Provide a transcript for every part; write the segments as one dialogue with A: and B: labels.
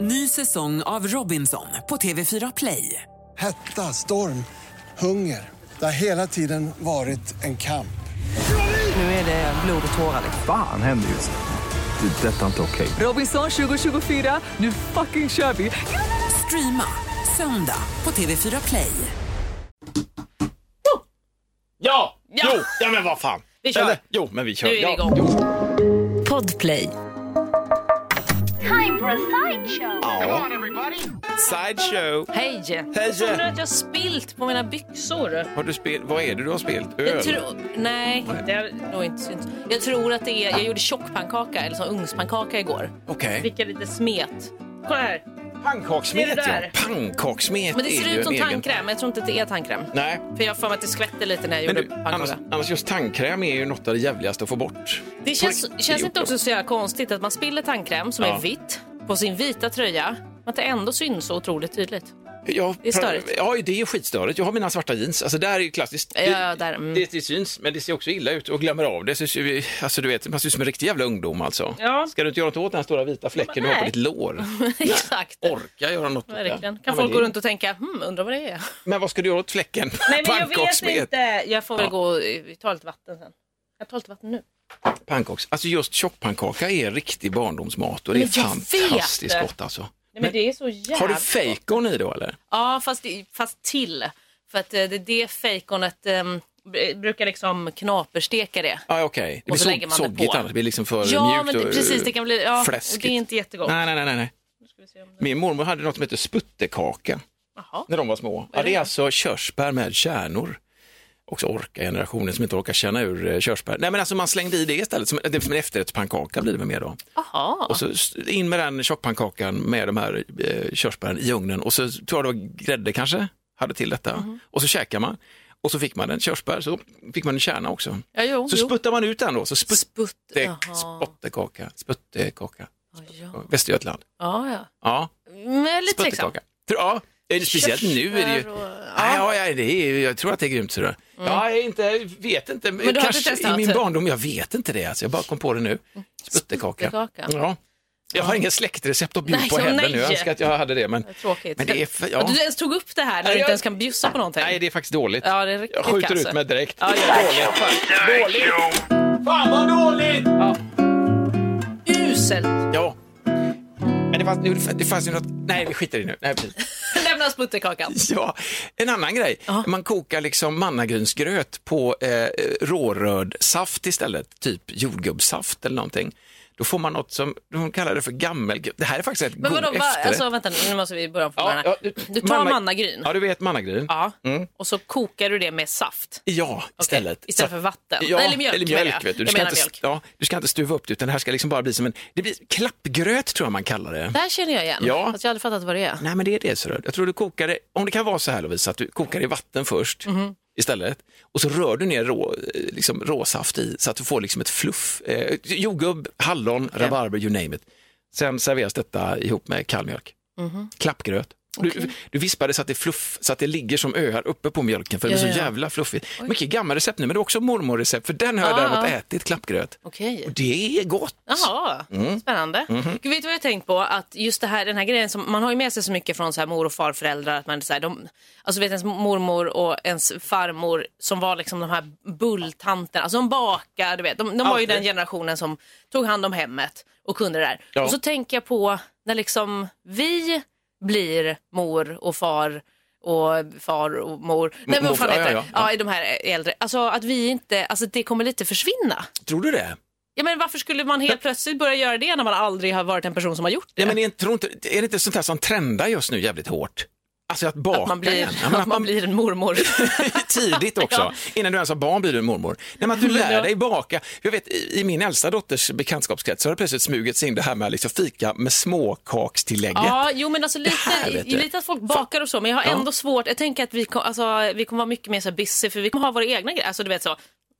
A: Ny säsong av Robinson på TV4 Play.
B: Hetta, storm, hunger. Det har hela tiden varit en kamp.
A: Nu är det blod och tårar. liksom.
C: Fan händer just nu. Det. är Detta är inte okej.
A: Robinson 2024, nu fucking kör vi! Streama söndag på TV4 Play.
D: Ja!
E: Ja.
D: Jo! Ja men vad fan.
E: Vi kör.
D: jo men vi kör.
E: Nu är vi
D: ja.
E: igång.
D: Jo.
F: Podplay.
G: Time for a sideshow.
D: Sideshow.
E: Hej!
D: Hej.
E: Tror du att jag spilt på mina byxor?
D: Har du spel... Vad är det du har spelat? Öl?
E: Jag tror... Nej, det har nog inte synts. Jag tror att det är... Jag gjorde tjockpannkaka, eller så ugnspannkaka igår.
D: Okej.
E: Vilka lite smet. Kolla här. Ser
D: Pannkakssmet
E: du
D: ja.
E: där?
D: Pannkakssmet
E: Men det
D: är
E: ser
D: ju
E: ut
D: en
E: som
D: egen-
E: tandkräm, men jag tror inte att det är tandkräm.
D: Nej.
E: För jag har för mig att det skvätter lite när jag
D: Men
E: gjorde
D: du,
E: pannkaka.
D: annars, annars just tandkräm är ju något av det jävligaste att få bort.
E: Det
D: På
E: känns,
D: riktigt.
E: känns inte också så jävla konstigt att man spiller tandkräm som
D: Ja.
E: är vitt på sin vita tröja, men att det ändå syns så otroligt tydligt.
D: Ja,
E: Det är störigt.
D: Ja, det är skitstörigt. Jag har mina svarta jeans. Alltså, det här är ju klassiskt. Det,
E: Ja, där, mm.
D: det, det syns, men det ser också illa ut och glömmer av det. Syns, ju- alltså, du vet, man ser ut som en riktig jävla ungdom alltså.
E: Ja.
D: Ska du inte göra något åt den här stora vita fläcken du har på
E: nej.
D: ditt lår?
E: Exakt.
D: Orka göra något åt det.
E: Verkligen.
D: Ja, men
E: Kan folk
D: det-
E: gå runt och tänka, hmm, undrar vad det är?
D: Men vad ska du göra åt fläcken?
E: Nej, men jag vet
D: Pannkakssmet.
E: inte. Jag får väl
D: Ja.
E: gå och eh, ta lite vatten sen. Jag tar lite vatten nu.
D: Pannkaks. Alltså just tjockpannkaka är riktig barndomsmat och det är
E: Men jag
D: fantastiskt
E: vet.
D: gott alltså.
E: Nej, men det är så jävla...
D: Har du fejkon i då eller?
E: Ja, fast, det- fast till. För att eh, det är det fejkonet ehm, br- brukar liksom knapersteka det.
D: Ja, ah, okej. Det
E: Och så
D: blir
E: lägger
D: så,
E: man det
D: soggigt
E: på.
D: annars. Det blir liksom för
E: Ja,
D: mjukt
E: men det,
D: och
E: precis. Det kan bli... Ja, och
D: fläskigt.
E: det är inte jättegott.
D: Nej, nej, nej, nej.
E: Ska vi se om det...
D: Min mormor hade något som hette sputtekaka
E: Jaha.
D: när de var små. Ja, det är alltså körsbär med kärnor. Också orka generationen som inte orkar känna ur eh, körsbär. Nej, men alltså man slängde i det istället. Som, det är som en efterrättspannkaka blir det väl mer då.
E: Jaha.
D: Och så s- in med den tjockpannkakan med de här eh, körsbären i ugnen och så tror jag det var grädde kanske, hade till detta.
E: Mhm.
D: Och så käkar man och så fick man en körsbär, så fick man en kärna också.
E: Ja, jo,
D: Så
E: jo.
D: sputtar man ut den då, så sputte,
E: Sputt. Jaha.
D: spottekaka, sputtekaka,
E: Ja, ja.
D: Västergötland.
E: ja, ja.
D: Ja,
E: Men jag är lite tveksam.
D: sputtekaka. Tror- Ja, är det speciellt nu är det ju...
E: Körsbär och-
D: Ja, ja, ja, det är, jag tror att det är grymt. sådär. Ja, jag är inte, jag vet inte, men
E: Mm. du har
D: kanske
E: inte testat?
D: i min barndom, jag vet inte det. Alltså, jag bara kom på det nu. Sputtekaka.
E: Sputtekaka.
D: Ja. Jag har inga släktrecept att bjuda
E: Nej,
D: på
E: så
D: heller
E: nej.
D: nu. Jag önskar att jag hade det, men,
E: Tråkigt.
D: men det är... För,
E: Att
D: ja.
E: du ens tog upp det här när
D: Ja,
E: du
D: jag-
E: inte ens kan bjussa på någonting.
D: Nej, det är faktiskt dåligt.
E: Ja, det är riktigt
D: jag skjuter
E: kass.
D: ut mig direkt.
E: Ja, gör det.
D: dåligt. Fan, dåligt. Fan vad dåligt!
E: Uselt.
D: Ja. Men det fanns, jo, det fanns ju något... Nej, vi skiter i nu. Nej, precis.
E: Lämna sputterkakan.
D: Ja, en annan grej. Man kokar liksom mannagrynsgröt på eh, rårörd saft istället, typ jordgubbssaft eller någonting. Då får man något som de kallar det för gammelgubb. Det här är faktiskt ett
E: Men
D: god
E: vadå, va,
D: efterrätt.
E: alltså vänta nu, nu måste vi börja om från början. här. Du tar mannagryn
D: Ja, Mm. du vet mannagryn. Ja,
E: ja. och så kokar du det med saft
D: istället.
E: istället
D: Så-
E: för vatten.
D: Ja,
E: Nej, eller mjölk, menar jag.
D: vet du. Du
E: Jag
D: ska,
E: menar
D: inte,
E: mjölk.
D: ja, du ska inte stuva upp det, utan det här ska liksom bara bli som en... Det blir klappgröt tror jag man kallar det.
E: Det här känner jag igen,
D: Ja.
E: fast jag har aldrig fattat vad det är.
D: Nej, men det är det. Så jag tror du kokar det, om det kan vara så här Lovisa, att du kokar det i vatten först
E: Mhm.
D: istället och så rör du ner rå, eh, liksom, råsaft i så att du får liksom ett fluff. Eh, jordgubb, hallon, rabarber, you name it. Sen serveras detta ihop med kall mjölk.
E: Mhm.
D: Klappgröt. Du, du vispar det så att det, är fluff, så att det ligger som öar uppe på mjölken för det
E: Ja,
D: blir
E: ja,
D: så
E: ja.
D: jävla fluffigt. Mycket gamla recept nu men det är också mormorrecept för den har jag
E: Ah,
D: däremot
E: ah.
D: ätit, klappgröt.
E: Okej.
D: Och det är gott.
E: Jaha,
D: Mm.
E: spännande.
D: Mm-hmm.
E: Gud, vet du vad jag har tänkt på? Att just det här, den här grejen som man har ju med sig så mycket från så här mor och farföräldrar. Att man, så här, de, alltså vet ens mormor och ens farmor som var liksom de här bulltanterna. Alltså de bakar, du vet. De, de var ju
D: Alltid.
E: den generationen som tog hand om hemmet och kunde det där.
D: Ja.
E: Och så tänker jag på när liksom vi blir mor och far och far och mor. Nej men vad fan
D: morfar,
E: heter det?
D: ja,
E: Ja,
D: ja, ja.
E: i de här äldre. Alltså att vi inte, alltså det kommer lite försvinna.
D: Tror du det?
E: Ja, men varför skulle man helt plötsligt börja göra det när man aldrig har varit en person som har gjort det?
D: Ja, men är, inte- tror inte, är det inte sånt här som trendar just nu jävligt hårt? Alltså att baka
E: att man blir,
D: igen. Ja,
E: att
D: men
E: man blir en mormor.
D: Tidigt också, innan du ens har barn blir du en mormor. Nej, men att du lär dig baka. Jag vet, i, I min äldsta dotters bekantskapskrets så har det plötsligt smugit sig in det här med liksom fika med småkakstillägget.
E: ja, jo men alltså lite,
D: här, vet du.
E: lite att folk bakar och så, men jag har
D: Ja.
E: ändå svårt. Jag tänker att vi, kom, alltså, vi kommer vara mycket mer så här busy, för vi kommer ha våra egna grejer. Alltså du vet så,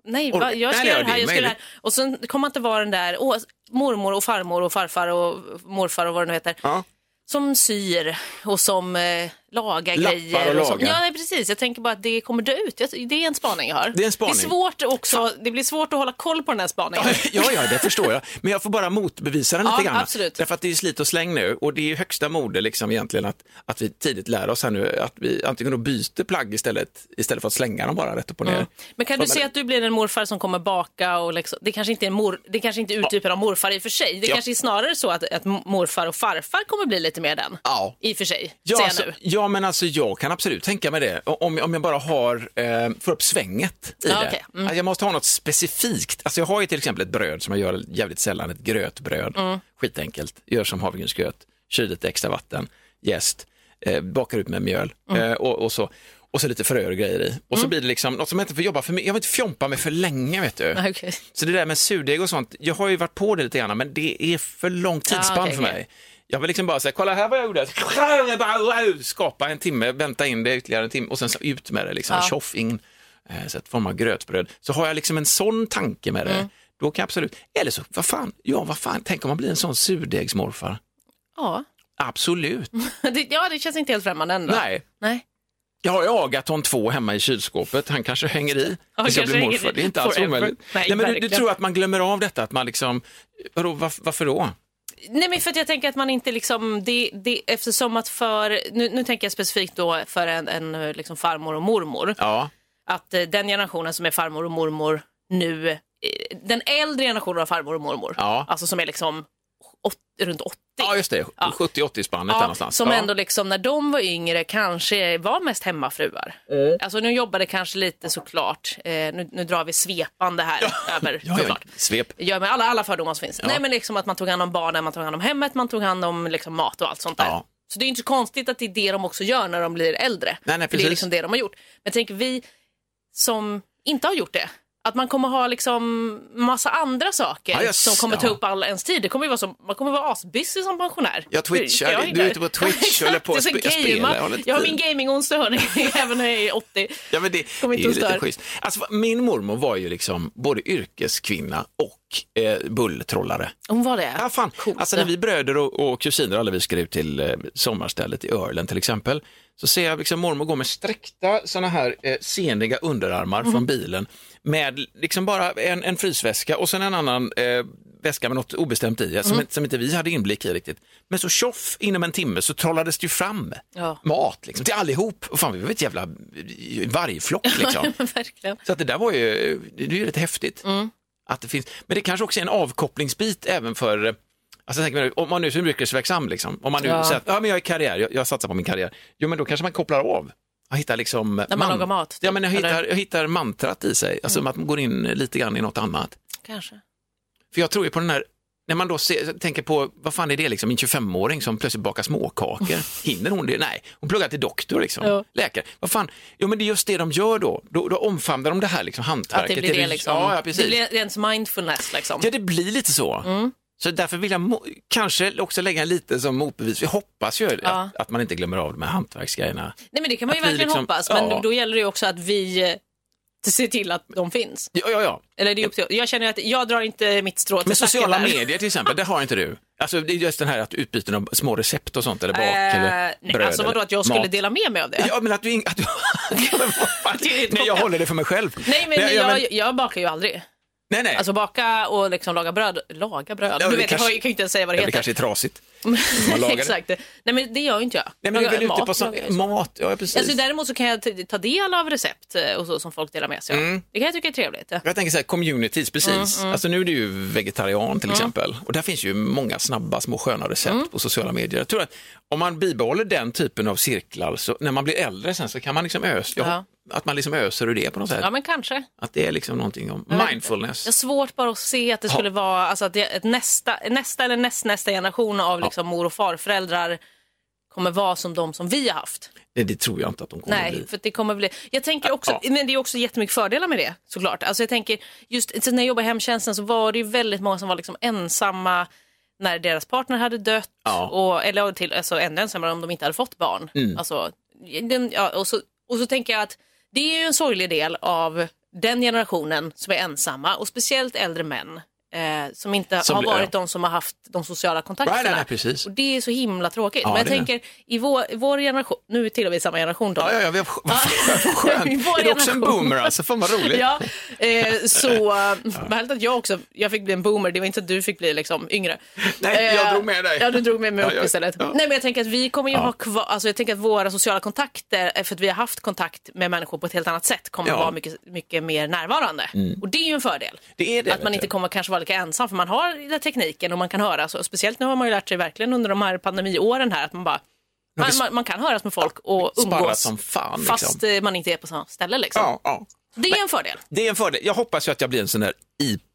E: nej,
D: Och-
E: va, jag ska
D: nej,
E: göra
D: ja,
E: det här,
D: det är
E: jag ska göra det här.
D: möjligt.
E: Och sen kommer man inte vara den där, åh, mormor och farmor och farfar och morfar och vad det nu heter.
D: Ja.
E: som syr och som eh, laga
D: Lappar
E: grejer.
D: och
E: sånt.
D: laga.
E: Ja, nej, precis. Jag tänker bara att det kommer dö ut. Jag- Det är en spaning jag har.
D: Det är en spaning.
E: Det, är svårt också, det blir svårt att hålla koll på den här spaningen.
D: Ja, ja, det förstår jag. Men jag får bara motbevisa den
E: Ja,
D: lite grann.
E: absolut.
D: Därför att det är slit och släng nu och det är högsta mode liksom egentligen att, att vi tidigt lär oss här nu att vi antingen då byter plagg istället, istället för att slänga dem bara rätt upp och ner.
E: Men kan du se att du blir en morfar som kommer baka och liksom, det kanske inte är en mor, det kanske inte är urtypen av morfar i och för sig. Det
D: Ja.
E: kanske är snarare så att, att morfar och farfar kommer bli lite mer den.
D: Ja.
E: I och för sig,
D: Ja,
E: säger
D: alltså,
E: jag nu.
D: ja, men alltså jag kan absolut tänka mig det. Om, om jag bara har, eh, får upp svänget i
E: Ja,
D: det.
E: okej. Mm.
D: Alltså, jag måste ha något specifikt. Alltså, jag har ju till exempel ett bröd som jag gör jävligt sällan, ett grötbröd.
E: Mm.
D: Skitenkelt. Gör som havregrynsgröt, kyl lite extra vatten, jäst, eh, bakar ut med mjöl
E: Mm.
D: eh, och, och så. Och så lite fröer och grejer i. Och så blir det liksom något som jag inte får jobba för mycket. Jag vill inte fjompa mig för länge vet du.
E: Nej, okej.
D: Så det där med surdeg och sånt, jag har ju varit på det lite grann, men det är för lång tidsspann
E: Ah, okej,
D: för
E: okej.
D: mig. Jag vill liksom bara säga, kolla här vad jag gjorde. Skapa en timme, vänta in det ytterligare en timme och sen så ut med det. Liksom. Tjoff, in. Eh, Så att forma av grötbröd. Så har jag liksom en sån tanke med det,
E: Mm.
D: då kan jag absolut... Eller så, vad fan, ja vad fan, tänk om man blir en sån surdegsmorfar.
E: Ja.
D: Absolut.
E: Det, ja, det känns inte helt främmande ändå.
D: Nej,
E: Nej.
D: jag har ju Agaton 2 hemma i kylskåpet, han kanske hänger i.
E: han
D: tills jag
E: kanske
D: blir
E: hänger
D: morfar.
E: i
D: Det är inte alls
E: forever.
D: omöjligt.
E: Nej,
D: Nej, men du, du
E: verkligen.
D: tror att man glömmer av detta, att man liksom, vadå, varf- varför då?
E: Nej, men för att jag tänker att man inte liksom, det, det, eftersom att för, nu, nu tänker jag specifikt då för en, en eh, liksom farmor och mormor,
D: Ja,
E: att eh, den generationen som är farmor och mormor nu, eh, den äldre generationen av farmor och mormor,
D: Ja.
E: alltså som är liksom åt, runt 80,
D: ja just det,
E: Ja.
D: 70-80 spannet där
E: Ja,
D: någonstans.
E: som
D: ja.
E: ändå liksom när de var yngre kanske var mest hemmafruar.
D: Eh.
E: Alltså nu jobbade kanske lite såklart, eh, nu, nu drar vi svepande här över
D: ja, ja,
E: såklart.
D: svep.
E: Ja, med alla, alla fördomar som finns. Nej, men liksom att man tog hand om barnen, man tog hand om hemmet, man tog hand om liksom, mat och allt sånt där.
D: Ja.
E: Så det är inte så konstigt att det är det de också gör när de blir äldre.
D: Nej, nej,
E: För det är
D: precis.
E: liksom det de har gjort. Men tänk vi som inte har gjort det. Att man kommer ha liksom massa andra saker
D: Ja, jag-
E: som kommer ta
D: ja.
E: upp all ens tid. Det kommer ju vara som, man kommer vara asbusy som pensionär.
D: Jag twitchar,
E: Det- jag
D: du är
E: inte.
D: ute på Twitch och
E: Exakt,
D: håller på
E: det är
D: att
E: så
D: spe- spela.
E: gamea.
D: Jag håller inte
E: Jag har
D: tid.
E: min gaming-onsdag hörni, även när jag är 80.
D: Ja, men det, det
E: Kom
D: är
E: inte
D: ju
E: och
D: lite
E: stör.
D: schysst. Alltså, min mormor var ju liksom både yrkeskvinna och eh, bulltrollare.
E: Hon var det?
D: Ja, fan.
E: Coolt.
D: Alltså när vi bröder och, och kusiner, alla vi ska ut till eh, sommarstället i Örlen till exempel, så ser jag liksom mormor gå med sträckta sådana här eh, seniga underarmar
E: Mm.
D: från bilen med liksom bara en, en frysväska och sen en annan eh, väska med något obestämt i, eh,
E: Mm.
D: som, som inte vi hade inblick i riktigt. Men så tjoff, inom en timme så trollades det ju fram
E: Ja.
D: mat liksom, till allihop. Och fan, vi var ett jävla eh, vargflock liksom.
E: Verkligen.
D: Så att det där var ju, det är ju rätt häftigt.
E: Mm.
D: Att det finns, men det kanske också är en avkopplingsbit även för, alltså jag tänker mig, om man nu är yrkesverksam, liksom, om man nu
E: Ja.
D: säger att ja, men jag är i karriär, jag, jag satsar på min karriär, jo men då kanske man kopplar av. Jag hittar liksom...
E: man lagar mat,
D: Ja, men jag,
E: typ,
D: hittar,
E: eller? Mm.
D: jag hittar mantrat i sig, alltså att man går in lite grann i något annat.
E: Kanske.
D: För jag tror ju på den här, när man då ser, tänker på, vad fan är det liksom, min 25-åring som plötsligt bakar småkakor, hinner hon det? Nej, hon pluggar till doktor liksom,
E: Ja.
D: läkare. Vad fan, jo men det är just det de gör då, då, då omfamnar de det här liksom
E: Att
D: hantverket.
E: det blir det liksom.
D: Ja, ja, precis.
E: Det blir Mm. ens mindfulness liksom.
D: Ja, det blir lite så. Så därför vill jag mo- kanske också lägga en lite som motbevis, vi hoppas ju
E: Ja.
D: att, att man inte glömmer av de här hantverksgrejerna.
E: Nej men det kan man ju
D: Att vi
E: verkligen
D: liksom-
E: hoppas, men
D: ja.
E: då gäller det ju också att vi eh, ser till att de finns.
D: Ja, ja, ja.
E: Eller det är upp till, jag känner ju att jag drar inte mitt strå till
D: Men
E: stacken
D: sociala
E: där.
D: medier till exempel, det har inte du. Alltså det är just den här att utbyten av små recept och sånt eller bak eller
E: Eh,
D: bröd.
E: nej, alltså vadå
D: eller
E: att jag skulle
D: mat.
E: dela med mig av det?
D: Ja, men att du... in- Att du Vad fan?
E: Det är ett
D: nej, jag
E: problem.
D: håller det för mig själv.
E: Nej men,
D: nej, ja,
E: jag,
D: men-
E: jag bakar ju aldrig.
D: nej, nej.
E: Alltså baka och liksom laga bröd. Laga bröd?
D: Ja,
E: du
D: det
E: vet,
D: kanske-
E: jag kan ju inte ens säga vad det
D: det
E: heter.
D: kanske är trasigt. man lagar det.
E: Exakt. Nej men det gör ju inte jag.
D: Nej, men du är
E: Lagar-
D: väl ute på
E: mat
D: så...
E: lagar jag ju.
D: mat. Ja, precis.
E: Alltså, däremot så kan jag t- ta del av recept eh, och så som folk delar med sig av.
D: Mm.
E: Det kan jag tycka är trevligt. ja.
D: Jag tänker så här, communities, precis.
E: Mm,
D: Alltså nu är du ju vegetarian till exempel. Och där finns ju många snabba små sköna recept
E: Mm.
D: på sociala medier. Jag tror att om man bibehåller den typen av cirklar, så när man blir äldre sen så kan man liksom ösa,
E: Ja.
D: att man liksom öser ur det på något sätt.
E: Ja men kanske.
D: Att det är liksom någonting om
E: vet inte.
D: mindfulness.
E: Jag har svårt bara att se att det skulle vara alltså att det, ett nästa, nästa eller nästnästa generation av liksom mor och farföräldrar kommer vara som de som vi har haft.
D: Nej, det tror jag inte att de kommer
E: Nej,
D: bli.
E: för att det kommer bli... Jag tänker också,
D: Ja.
E: men det är också jättemycket fördelar med det såklart. Alltså jag tänker, just så när jag jobbade i hemtjänsten så var det ju väldigt många som var liksom ensamma när deras partner hade dött.
D: Ja. Mm.
E: Och, eller till, alltså, ännu ensammare om de inte hade fått barn. Alltså, den, ja, och, så, och så tänker jag att det är ju en sorglig del av den generationen som är ensamma och speciellt äldre män eh, som inte
D: Som
E: har
D: blir-
E: varit
D: ja.
E: de som har haft de sociala kontakterna.
D: Nej, nej, nej, precis.
E: Och det är så himla tråkigt.
D: Ja,
E: Men jag
D: det är det.
E: tänker, i vår, i vår generation, nu tillhör vi samma generation då.
D: Ja, ja, ja, vi har, vad skönt.
E: I vår
D: Är du också en
E: generation.
D: boomer alltså? Fan vad roligt.
E: Ja, eh, så eh, vad härligt att jag också, jag fick bli en boomer, det var inte att du fick bli liksom yngre. Eh,
D: Nej, jag drog med dig.
E: Ja, du drog med mig
D: Ja,
E: upp
D: jag-
E: istället.
D: ja.
E: Nej, men jag tänker att vi kommer ju ha kvar, alltså jag tänker att våra sociala kontakter, eh, för att vi har haft kontakt med människor på ett helt annat sätt, kommer
D: Ja. Mm.
E: vara mycket, mycket mer närvarande. Och det är ju en fördel.
D: Det är det,
E: att
D: vet
E: man
D: du.
E: inte kommer kanske vara lika ensam, för man har den här tekniken och man kan höra. Så, speciellt nu har man ju lärt sig verkligen under de här pandemiåren här, att man bara, man,
D: vi sp-
E: man, man kan höras med folk och
D: Sparrat
E: umgås
D: som fan,
E: fast
D: liksom.
E: eh, man inte är på samma ställe. Liksom.
D: Ja, ja.
E: Det är en fördel.
D: Det är en fördel. Jag hoppas ju att jag blir en sån där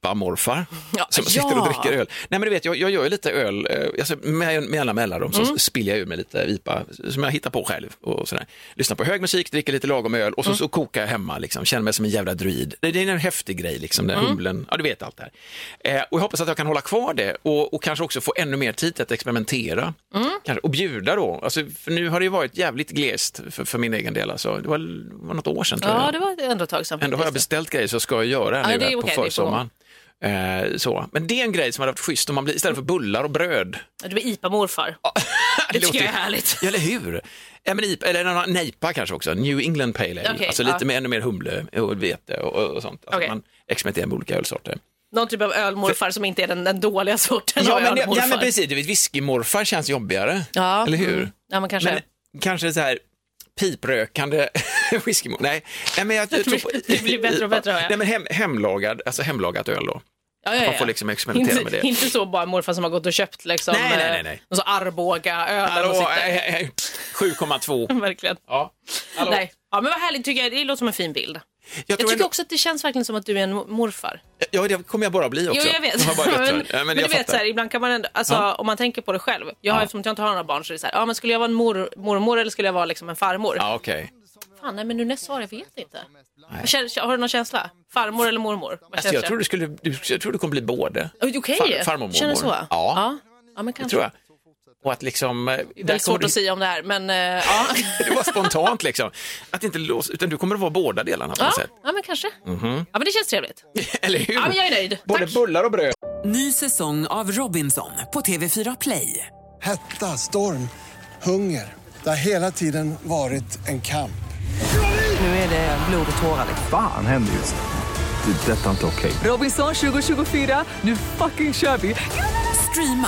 D: IPA-morfar
E: Ja,
D: som
E: ja.
D: sitter och dricker öl. Nej, men du vet, jag, jag gör ju lite öl, eh, alltså, med, med alla mellanrum så
E: Mm.
D: spiller jag ur mig lite IPA som jag hittar på själv. Och sådär. Lyssnar på hög musik, dricker lite lagom öl och så,
E: Mm.
D: så kokar jag hemma, liksom. känner mig som en jävla druid. Det, det är en häftig grej, liksom, den
E: Mm.
D: humlen, ja du vet allt det här. Eh, och jag hoppas att jag kan hålla kvar det och, och kanske också få ännu mer tid till att experimentera
E: Mm.
D: kanske, och bjuda då. Alltså, för nu har det ju varit jävligt glest för, för min egen del, alltså. det var, det var något år sedan tror jag.
E: Ja, det var ändå ett tag sedan.
D: Ändå har jag
E: faktiskt.
D: beställt grejer så ska jag göra
E: Ja,
D: nu
E: det är
D: här
E: okej, det
D: på
E: är
D: försommaren. Eh, så. Men det är en grej som hade varit schysst om man blir, istället för bullar och bröd.
E: Du blir IPA-morfar. Det tycker
D: låter-
E: jag är härligt.
D: Ja, eller hur? Ja, men IPA, eller en annan- nejpa kanske också, New England Pale Ale.
E: Okej,
D: alltså
E: ja.
D: lite mer, ännu mer humle och vete och, och sånt. Alltså,
E: Okej.
D: Man experimenterar med olika ölsorter.
E: Någon typ av ölmorfar som inte är den, den dåliga sorten
D: Ja
E: av
D: men,
E: ölmorfar.
D: ja, men precis. Du vet, whiskymorfar känns jobbigare.
E: Ja,
D: Eller hur?
E: mm. Ja, men kanske.
D: Men kanske så här piprökande whiskymorfar. Nej. Nej, men jag, jag tror på...
E: Det blir bättre och bättre, hör jag.
D: Nej, men hem, hemlagad, alltså hemlagat öl då.
E: ja, ja, ja.
D: man får liksom experimentera
E: inte,
D: med det.
E: Inte så bara morfar som har gått och köpt liksom,
D: Nej, nej, nej, nej.
E: eh, någon sån Arboga-öl. där de
D: Hallå,
E: sitter.
D: eh, eh, eh, 7,2.
E: Verkligen.
D: Ja. Hallå.
E: Nej. Ja, men vad härligt, tycker jag. det låter som en fin bild.
D: Jag,
E: Jag
D: tror
E: tycker
D: ändå,
E: också att det känns verkligen som att du är en mo- morfar.
D: ja, det kommer jag bara bli också.
E: Jo, jag vet.
D: Jag har bara gett
E: men,
D: det. Ja, men,
E: men
D: jag
E: du vet,
D: fattar.
E: så här, ibland kan man ändå, alltså,
D: Ja.
E: om man tänker på det själv. Jag har, Eftersom jag inte har några barn så är det så här, ja, men skulle jag vara en mor, mormor eller skulle jag vara liksom en farmor?
D: Ja, okej.
E: Fan, nej, men nu när jag sa det, jag vet inte. Jag känner- Har du någon känsla? Farmor eller mormor? Vad
D: Alltså,
E: känns
D: jag
E: det?
D: tror du skulle, du, jag tror du kommer bli både.
E: Oj, Okej,
D: Far- farmor och
E: känner du så?
D: mormor.
E: Ja.
D: Ja.
E: ja. men
D: Det
E: kanske.
D: tror jag. Och att liksom... eh,
E: Det är
D: Där kommer
E: svårt
D: du,
E: att säga om det här, men eh, ja.
D: det var spontant liksom. Att inte låsa, utan du kommer att vara båda delarna på
E: ja.
D: något sätt.
E: ja, men kanske. Ja, men det känns trevligt.
D: Eller hur?
E: Ja, men jag är nöjd.
D: Mhm. Både
E: Tack.
D: bullar och bröd.
A: Ny säsong av Robinson på TV4 Play.
B: Hetta, storm, hunger. Det har hela tiden varit en kamp.
A: Nu är det blod och tårar. liksom.
C: Fan händer just nu. Det. är Detta är inte okej.
A: Robinson 2024, nu fucking kör vi! Streama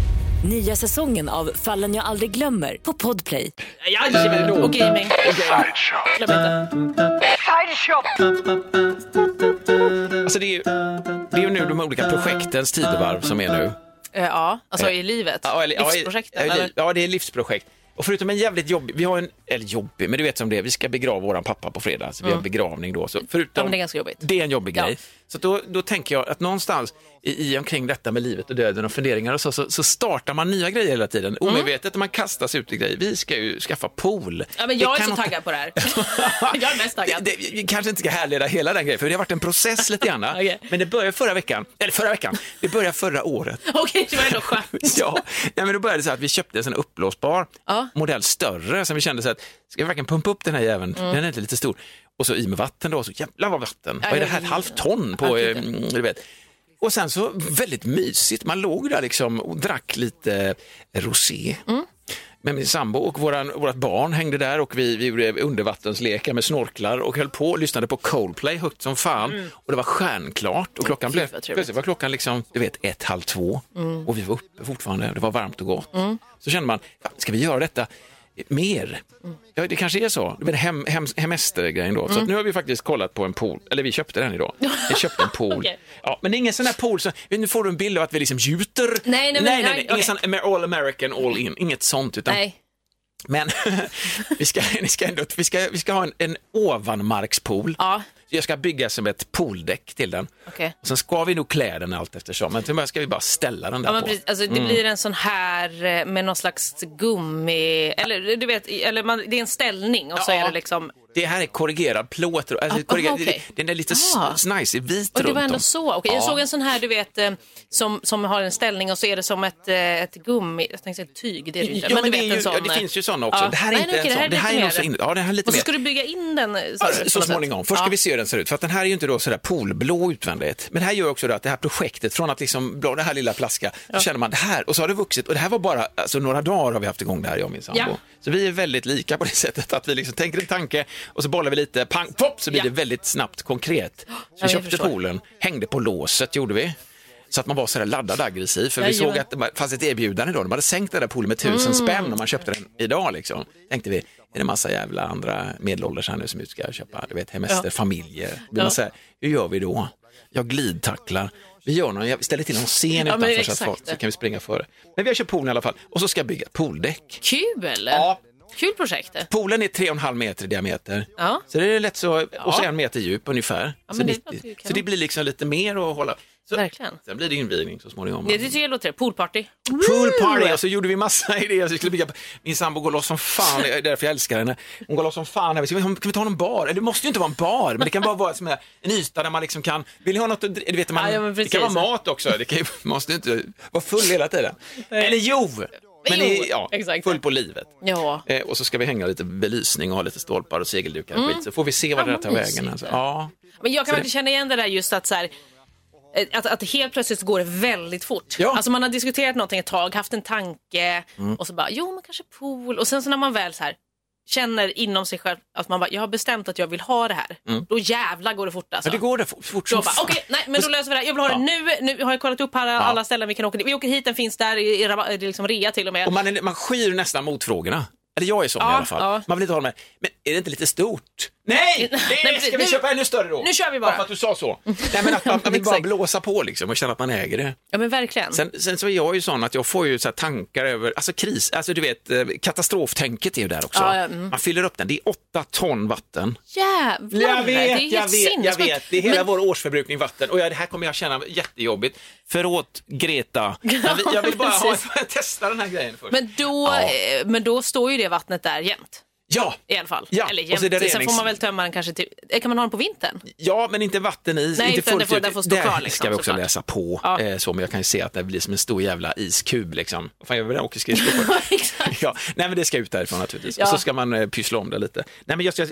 F: Nya säsongen av Fallen jag aldrig glömmer på Podplay.
E: Jajamän, och gaming. Glöm inte.
D: Alltså, det, är ju, det är ju nu de olika projektens tidevarv som är nu.
E: Eh, Ja, alltså i livet.
D: Ja, eller,
E: Livsprojekten,
D: ja,
E: eller?
D: eller? ja, det är livsprojekt. Och förutom en jävligt jobbig, vi har en, eller jobbig, men du vet som det är, vi ska begrava våran pappa på fredag, så vi har begravning då. Så förutom,
E: Mm. Ja, men det är ganska jobbigt.
D: Det är en jobbig
E: Ja.
D: grej. Så att då, då tänker jag att någonstans i, i omkring detta med livet och döden och funderingar och så, så, så startar man nya grejer hela tiden.
E: Mm.
D: Omedvetet, man kastas ut i grejer. Vi ska ju skaffa pool.
E: Ja, men
D: Det
E: jag är
D: kan
E: så
D: inte-
E: taggad på det här. Jag är mest taggad.
D: Det, det, vi kanske inte ska härleda hela den grejen, för det har varit en process lite grann.
E: Okej.
D: Men det började förra veckan, eller förra veckan, det började förra året.
E: Okej, det var ändå skönt.
D: Ja, nej, men då började det så här att vi köpte en sån här uppblåsbar
E: Ja.
D: modell större, som vi kände så här att ska vi verkligen pumpa upp den här jäveln? Den är inte lite stor. Och så i med vatten då, så jävlar vad vatten.
E: Mm. Ja,
D: vad är det
E: ja,
D: här, ett
E: ja,
D: halvt ton på,
E: Ja,
D: eh,
E: gud, ja.
D: mm, du vet. Och sen så väldigt mysigt, man låg där liksom och drack lite rosé.
E: Mm.
D: Med min sambo och våran, vårat barn hängde där och vi, vi gjorde undervattenslekar med snorklar och höll på och lyssnade på Coldplay högt som fan. Och det var stjärnklart och klockan blev,
E: Mm. vad trevligt.
D: plötsligt var klockan liksom, du vet, ett, halv två
E: Mm.
D: och vi var uppe fortfarande och det var varmt och gott. Så kände man, "Fan, ska vi göra detta mer?
E: Mm.
D: Ja, det kanske är så, men hem, hem, hemestergrejen då. Så att nu har vi faktiskt kollat på en pool, eller vi köpte den idag. Vi köpte en pool.
E: Okej.
D: ja, men det är ingen sån här pool som, nu får du en bild av att vi liksom gjuter.
E: nej,
D: nej, nej,
E: men- nej,
D: nej.
E: okej.
D: Ingen sån Amer- all American, all in, inget sånt. Utan,
E: Nej.
D: Men vi ska, vi, ska ändå, vi, ska, vi ska ha en, en ovanmarkspool.
E: Ja.
D: jag ska bygga som ett pooldäck till den.
E: Okej.
D: Och sen ska vi nog klä den allt eftersom, men till början ska vi bara ställa den där
E: Ja, men
D: på.
E: precis, alltså, det blir en sån här eh, med någon slags gummi, eller du vet, eller man, det är en ställning och så
D: Ja.
E: är det liksom,
D: Det här är korrigerad plåt, alltså,
E: Ah,
D: korrigerad,
E: aha, okej.
D: den är lite
E: Ah.
D: s- nice, vit
E: och det
D: runt
E: var ändå
D: om.
E: så. Okej, Jag
D: Ja.
E: såg en sån här, du vet, eh, som, som har en ställning och så är det som ett, eh, ett gummi, jag tänkte säga tyg, det är det ju inte.
D: Ja,
E: men du
D: det,
E: vet
D: är ju,
E: en sån. eh,
D: ja, det finns ju sådana också.
E: Ja.
D: Det här är
E: Nej,
D: inte
E: nej, okej,
D: en sån. Det här är
E: lite
D: nog så
E: mer.
D: in- ja, det här är lite
E: Och så
D: mer.
E: ska du bygga in den. eh,
D: Ja,
E: på
D: Så
E: något
D: småningom.
E: sätt.
D: Först ska
E: Ja.
D: vi se hur den ser ut. För att den här är ju inte då sådär poolblå utvändigt. Men det här gör också då att det här projektet, från att liksom, blå, det här lilla flaska, så känner man det här och så har det vuxit. Och det här var bara, alltså några dagar har vi haft igång det här jag och min sambo.
E: Ja.
D: Så vi är väldigt lika på det sättet att vi liksom tänker en tanke och så bollar vi lite, pang, pop, så blir
E: Ja.
D: det väldigt snabbt konkret. Så
E: jag
D: vi köpte
E: förstår.
D: poolen, hängde på låset gjorde vi. Så att man var sådär laddad aggressiv. För vi
E: Jajamän.
D: såg att det var- fanns ett erbjudande då. De hade sänkt den där poolen med tusen
E: Mm.
D: spänn om man köpte den idag. Liksom. Tänkte vi, är det massa jävla andra medelålders här nu som ut ska köpa du vet, hemester,
E: Ja.
D: familjer. Då blir
E: Ja.
D: man såhär, hur gör vi då? Jag glidtacklar. Vi gör någon, jag ställer till någon scen
E: Ja, men
D: utanför så, att
E: exakt
D: folk, så
E: det.
D: kan vi springa före. Men vi har köpt poolen i alla fall. Och så ska jag bygga pooldäck.
E: Kul!
D: Ja.
E: Kul projekt. det.
D: Poolen är 3,5 meter i diameter.
E: Ja.
D: Så det är lätt så, och så en meter djup ungefär. så,
E: men det
D: 90.
E: låter ju kanon.
D: så det blir liksom lite mer att hålla. Så,
E: Verkligen.
D: Sen blir det invigning så småningom.
E: Det tycker jag låter, poolparty.
D: Pool party och så gjorde vi massa idéer. Så vi skulle bygga... Min sambo går loss som fan, det är därför jag älskar henne. Hon går loss som fan. Här. Ska vi- Kan vi ta någon bar? Eller Det måste ju inte vara en bar, men det kan bara vara som en yta där man liksom kan... Vill ni ha något att dri- du vet, man...
E: Ja, ja, men
D: Det
E: precis.
D: kan vara mat också. Det kan... ju- måste ju inte vara full hela tiden. Eller jo! Men
E: Jo,
D: det är- ja,
E: exakt.
D: full på livet.
E: Ja.
D: Eh, och så ska vi hänga lite belysning och ha lite stolpar och segeldukar och skit. Så får vi se vad
E: Mm.
D: det
E: Ja,
D: där tar
E: men
D: vägen.
E: mysigt.
D: Alltså. Ja.
E: Men
D: Så
E: jag kan
D: det-
E: verkligen känna igen det där just att så här, eh, att, att helt plötsligt går det väldigt fort.
D: Ja. Mm.
E: Alltså man har diskuterat någonting ett tag, haft en tanke och så bara, jo men kanske pool. Och sen så när man väl så här känner inom sig själv att man bara, jag har bestämt att jag vill ha det här. Då jävla går det fort alltså.
D: Men Mm. det går det fort, fort
E: Då
D: som
E: bara,
D: fan.
E: okej, nej men då löser vi det här. Jag vill ha det nu. Nu har jag kollat upp alla, alla ställen vi kan åka till. Vi åker hit, den finns där i, i, raba- eh, liksom rea till och med.
D: Och man, är, man skyr nästan motfrågorna. Eller jag är sån
E: Ja,
D: i alla fall.
E: ja.
D: Man vill inte ha med. Men är det inte lite stort? Nej! Det
E: Nej, precis.
D: ska vi
E: Nu-
D: köpa ännu större då?
E: nu kör vi bara.
D: Bara för att du sa så. Nej, men att man, man vill bara
E: Exakt.
D: blåsa på liksom och känna att man äger det.
E: Ja men verkligen.
D: Sen, sen så är jag ju sån att jag får ju så här tankar över, alltså kris, alltså du vet eh, katastroftänket är ju där också.
E: Ja, ja, mm.
D: Man fyller upp den, det är åtta ton vatten.
E: Jävlar, det är helt
D: jag
E: sinnessjukt.
D: vet. Det är hela
E: Men-
D: vår årsförbrukning vatten och ja, det här kommer jag känna jättejobbigt. Förlåt Greta, jag vill, jag vill bara ha, testa den här grejen först.
E: Men då,
D: Ja.
E: eh, men då står ju det vattnet där jämt.
D: ja,
E: I alla fall.
D: Ja,
E: Eller
D: och så är det
E: jämt. Sen
D: renings-
E: får man väl tömma den kanske till... eh, Kan man ha den på vintern?
D: Ja, men inte vatten i.
E: Nej,
D: inte
E: utan
D: fullt
E: den får-
D: ut.
E: den får stå
D: Där
E: kvar, liksom,
D: ska vi också
E: såklart.
D: läsa på.
E: Ja.
D: Eh, så, men jag kan ju se att det blir som en stor jävla iskub. Liksom. Vad fan gör vi den? Åker skridskor på den.
E: Exakt.
D: Ja, nej men det ska ut därifrån naturligtvis.
E: Ja.
D: Och så ska man eh, pyssla om det lite. Nej men just, jag-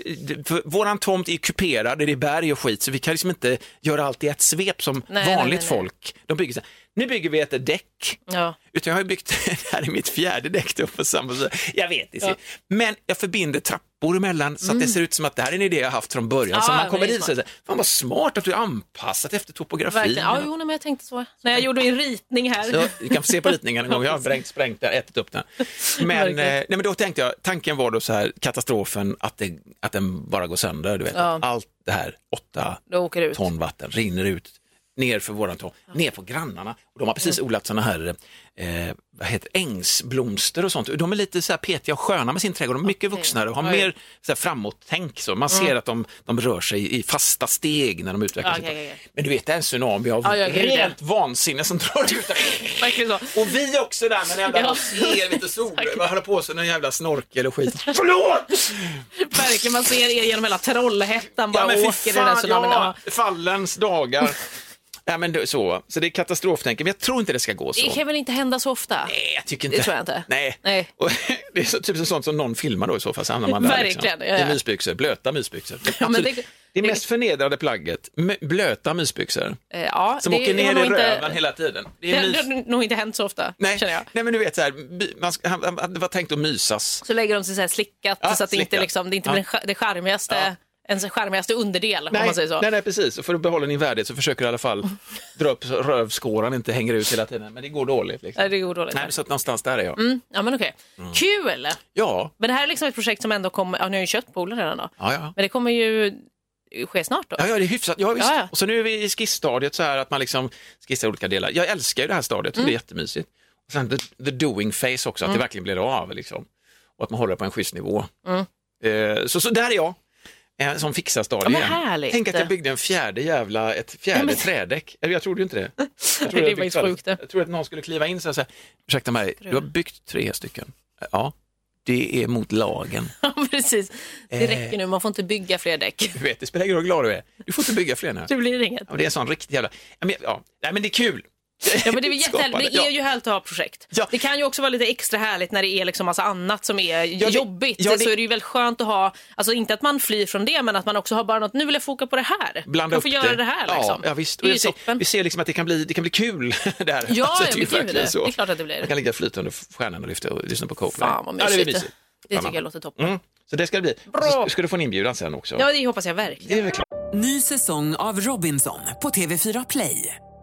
D: för våran tomt är ju kuperad, det är berg och skit, så vi kan liksom inte göra allt i ett svep som
E: Nej, nej,
D: vanligt
E: nej, nej.
D: folk. De bygger så här, nu bygger vi ett däck.
E: Ja.
D: Utan jag har ju byggt, det här är mitt fjärde däck då på samma sida. Jag vet inte. Men jag förbinder trappor emellan så att det ser ut som att det här är en idé jag haft från början. så
E: Mm. Ja,
D: man
E: men
D: kommer
E: det är
D: dit och säger, fan vad smart att du har anpassat efter topografin.
E: Verkligen. Ja, jo, nej, men jag tänkte så. När jag gjorde min ritning här.
D: Så du kan få se på ritningen en gång, jag har brängt, sprängt den, ätit upp den. Men, eh,
E: Verkligen.
D: nej, men då tänkte jag, tanken var då så här, katastrofen att, det, att den bara går sönder, du vet.
E: Ja.
D: att Allt det här, åtta
E: Då åker det ut.
D: ton vatten rinner ut ner för våran tomt, ner på grannarna. Och de har precis
E: Mm.
D: odlat sådana här eh, vad heter, det? ängsblomster och sånt. De är lite så här petiga och sköna med sin trädgård. De är mycket vuxnare och har
E: Oj. Mm.
D: mer så här framåt-tänk. Så. Man ser att de, de rör sig i fasta steg när de utvecklar
E: Ja,
D: sig.
E: okej, okej, okej.
D: Men du vet, det är en tsunami av
E: Ja, ja, okej,
D: rent vansinne som drar ut.
E: Verkligen så.
D: Och vi också där med en jävla
E: Ja.
D: moské, lite sol,
E: Exakt.
D: man håller på sig någon jävla snorkel och skit. Förlåt!
E: Verkligen, man ser er genom hela Trollhättan bara
D: Ja, men fy
E: åker i den här
D: fan,
E: tsunamin.
D: ja,
E: Ja.
D: fallens dagar. ja, men det, så. så det är katastroftänken, men jag tror inte det ska gå så.
E: Det kan väl inte hända så ofta?
D: Nej, jag tycker inte.
E: det tror jag inte.
D: Nej.
E: Nej.
D: Och, det är så, typ sånt som någon filmar då i så fall, så hamnar man där.
E: Verkligen,
D: Liksom.
E: ja, ja.
D: I mysbyxor, blöta mysbyxor.
E: men
D: Absolut.
E: det-
D: det, mest förnedrande plagget, m- blöta mysbyxor.
E: Eh, Ja,
D: Som
E: det
D: åker
E: har
D: ner i
E: nog inte-
D: röven hela tiden. Det
E: Det
D: är mys...
E: har nog inte hänt så ofta,
D: Nej,
E: känner jag.
D: nej, men du vet så här, by- man ska, han, han, det var tänkt att mysas.
E: Så lägger de sig så här slickat
D: Ja,
E: så att det inte,
D: slickat.
E: liksom, det inte
D: Ja.
E: blir en sk- det charmigaste,
D: Ja.
E: ens charmigaste underdel, om man säger så.
D: nej, nej, precis. Och för att behålla din värdighet så försöker du i alla fall dra upp så rövskåran inte hänger ut hela tiden. Men det går dåligt. Liksom.
E: Nej, det går dåligt.
D: Nej, Mm. men så att någonstans där är jag.
E: Mm. Ja, men okej. Kul!
D: Ja,
E: Men det här är liksom ett projekt som ändå kommer, ja, nu har jag ju köpt poolen redan då.
D: ja, ja.
E: Men det kommer ju ske snart då.
D: Ja, ja, det är hyfsat. Ja, visst.
E: Ja, ja.
D: Och så nu är vi i skissstadiet så här att man liksom skissar olika delar. Jag älskar ju det här stadiet,
E: Mm.
D: det är jättemysigt. Och sen the, the doing phase också, att
E: Mm.
D: det verkligen blir av liksom. Och att man håller det på en schysst nivå. Eh, så, så där är jag. eh, som fixar
E: Ja,
D: staden
E: men
D: igen.
E: härligt.
D: Tänk att jag byggde en fjärde jävla, ett fjärde trädäck. Eller, Jag trodde ju inte det. Jag trodde
E: Det
D: jag
E: var ju
D: byggde-
E: sjukt det.
D: Jag trodde att någon skulle kliva in så här, så här ursäkta mig, du har byggt tre stycken. Ja, det är mot lagen.
E: Ja, precis. Det
D: Eh.
E: räcker nu, man får inte bygga fler däck.
D: Du vet, det spelar ingen roll hur glad du är. Du får inte bygga fler nu.
E: Det blir inget.
D: Ja, men det är en sån riktig jävla... Ja, men, ja. Nej, men det är kul.
E: Ja, men det, är väl jättehärligt.
D: Skapande.
E: det är ju härligt att ha projekt.
D: Ja.
E: Det kan ju också vara lite extra härligt när det är liksom massa annat som är
D: det-
E: jobbigt.
D: ja, det-
E: Så är det ju väldigt skönt att ha, alltså inte att man flyr från det, men att man också har bara något, nu vill jag foka på det här.
D: blanda
E: jag
D: upp
E: får göra det, här liksom.
D: Ja, ja visst.
E: Det
D: Och
E: är
D: jag
E: ju
D: ser,
E: toppen.
D: vi ser liksom att det kan bli, det kan bli kul det här.
E: Ja,
D: alltså,
E: ja,
D: ju
E: men gud,
D: verkligen
E: det- det är klart att det blir det.
D: Man kan ligga flyt under stjärnan och lyfta och lyssna på Coldplay.
E: Fan vad
D: ja,
E: mysigt.
D: det blir
E: det,
D: mysigt. Bland
E: tycker jag
D: annat.
E: låter toppen.
D: Mm. Så det ska det bli.
E: Bra.
D: Så ska du få en inbjudan sen också.
E: Ja, det hoppas jag verkligen.
D: Det är väl klart.
A: Ny säsong av Robinson på TV4 Play.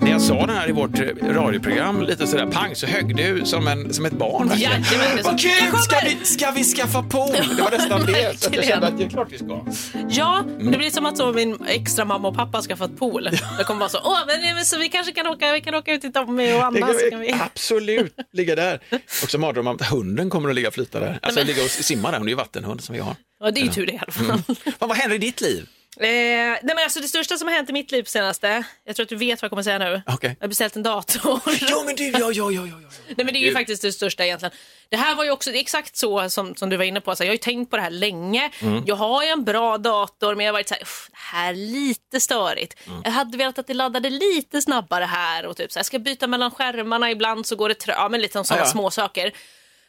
D: När jag sa den här i vårt eh, radioprogram, lite sådär pang, så högg du som, en, som ett barn. verkligen.
E: Jajamän, det är så-
D: Vad
E: Jag
D: kul!
E: kommer!
D: Ska vi, ska vi skaffa pool? Det var nästan det. Så att jag
E: Verkligen.
D: kände att det är klart vi ska.
E: Ja,
D: Mm.
E: det blir som att så min extra mamma och pappa har skaffat pool. Jag kommer bara så, åh, men, eh, men, så vi kanske kan åka, vi kan åka ut till Tommy och
D: Det
E: Anna.
D: kan
E: så kan
D: vi...
E: vi...
D: Absolut, ligga där. Också mardröm om att hunden kommer att ligga och flyta där. Alltså ligga och simma där, hon är ju vattenhund som vi har.
E: Ja, det är ju tur det i alla fall.
D: Fan, vad händer i ditt liv?
E: Eh, nej men alltså det största som har hänt i mitt liv på senaste, jag tror att du vet vad jag kommer säga nu.
D: Okej.
E: Jag har beställt en dator.
D: Ja, men du, ja, ja, ja, ja. ja.
E: nej men det är ju faktiskt det största egentligen. Det här var ju också det är exakt så som, som du var inne på, så här, jag har ju tänkt på det här länge.
D: Mm.
E: Jag har ju en bra dator men jag har varit så här, "Uff, det här är lite störigt.
D: Mm.
E: Jag hade velat att det laddade lite snabbare här och typ så här, jag ska byta mellan skärmarna ibland så går det trögt. Ja men lite sådana
D: Ja, ja.
E: små saker.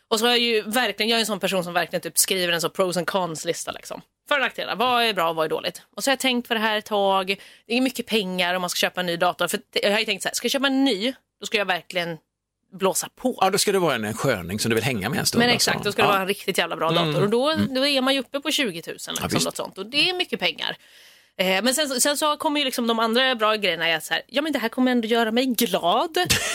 E: Och så har jag ju verkligen, jag är en sån person som verkligen typ skriver en sån pros and cons lista liksom. För och nackdelar, vad är bra och vad är dåligt? Och så har jag tänkt på det här ett tag, det är mycket pengar om man ska köpa en ny dator. För jag har ju tänkt så här, ska jag köpa en ny, då ska jag verkligen blåsa på.
D: Ja, då ska det vara en, en sköning som du vill hänga med en stund.
E: Men exakt, då ska det vara en riktigt jävla bra dator. Och då, då är man ju uppe på 20 000 liksom,
D: Mm. visst.
E: något sånt. Och det är mycket pengar. Eh, men sen, sen så kommer ju liksom de andra bra grejerna, är att så här, ja men det här kommer ändå göra mig glad.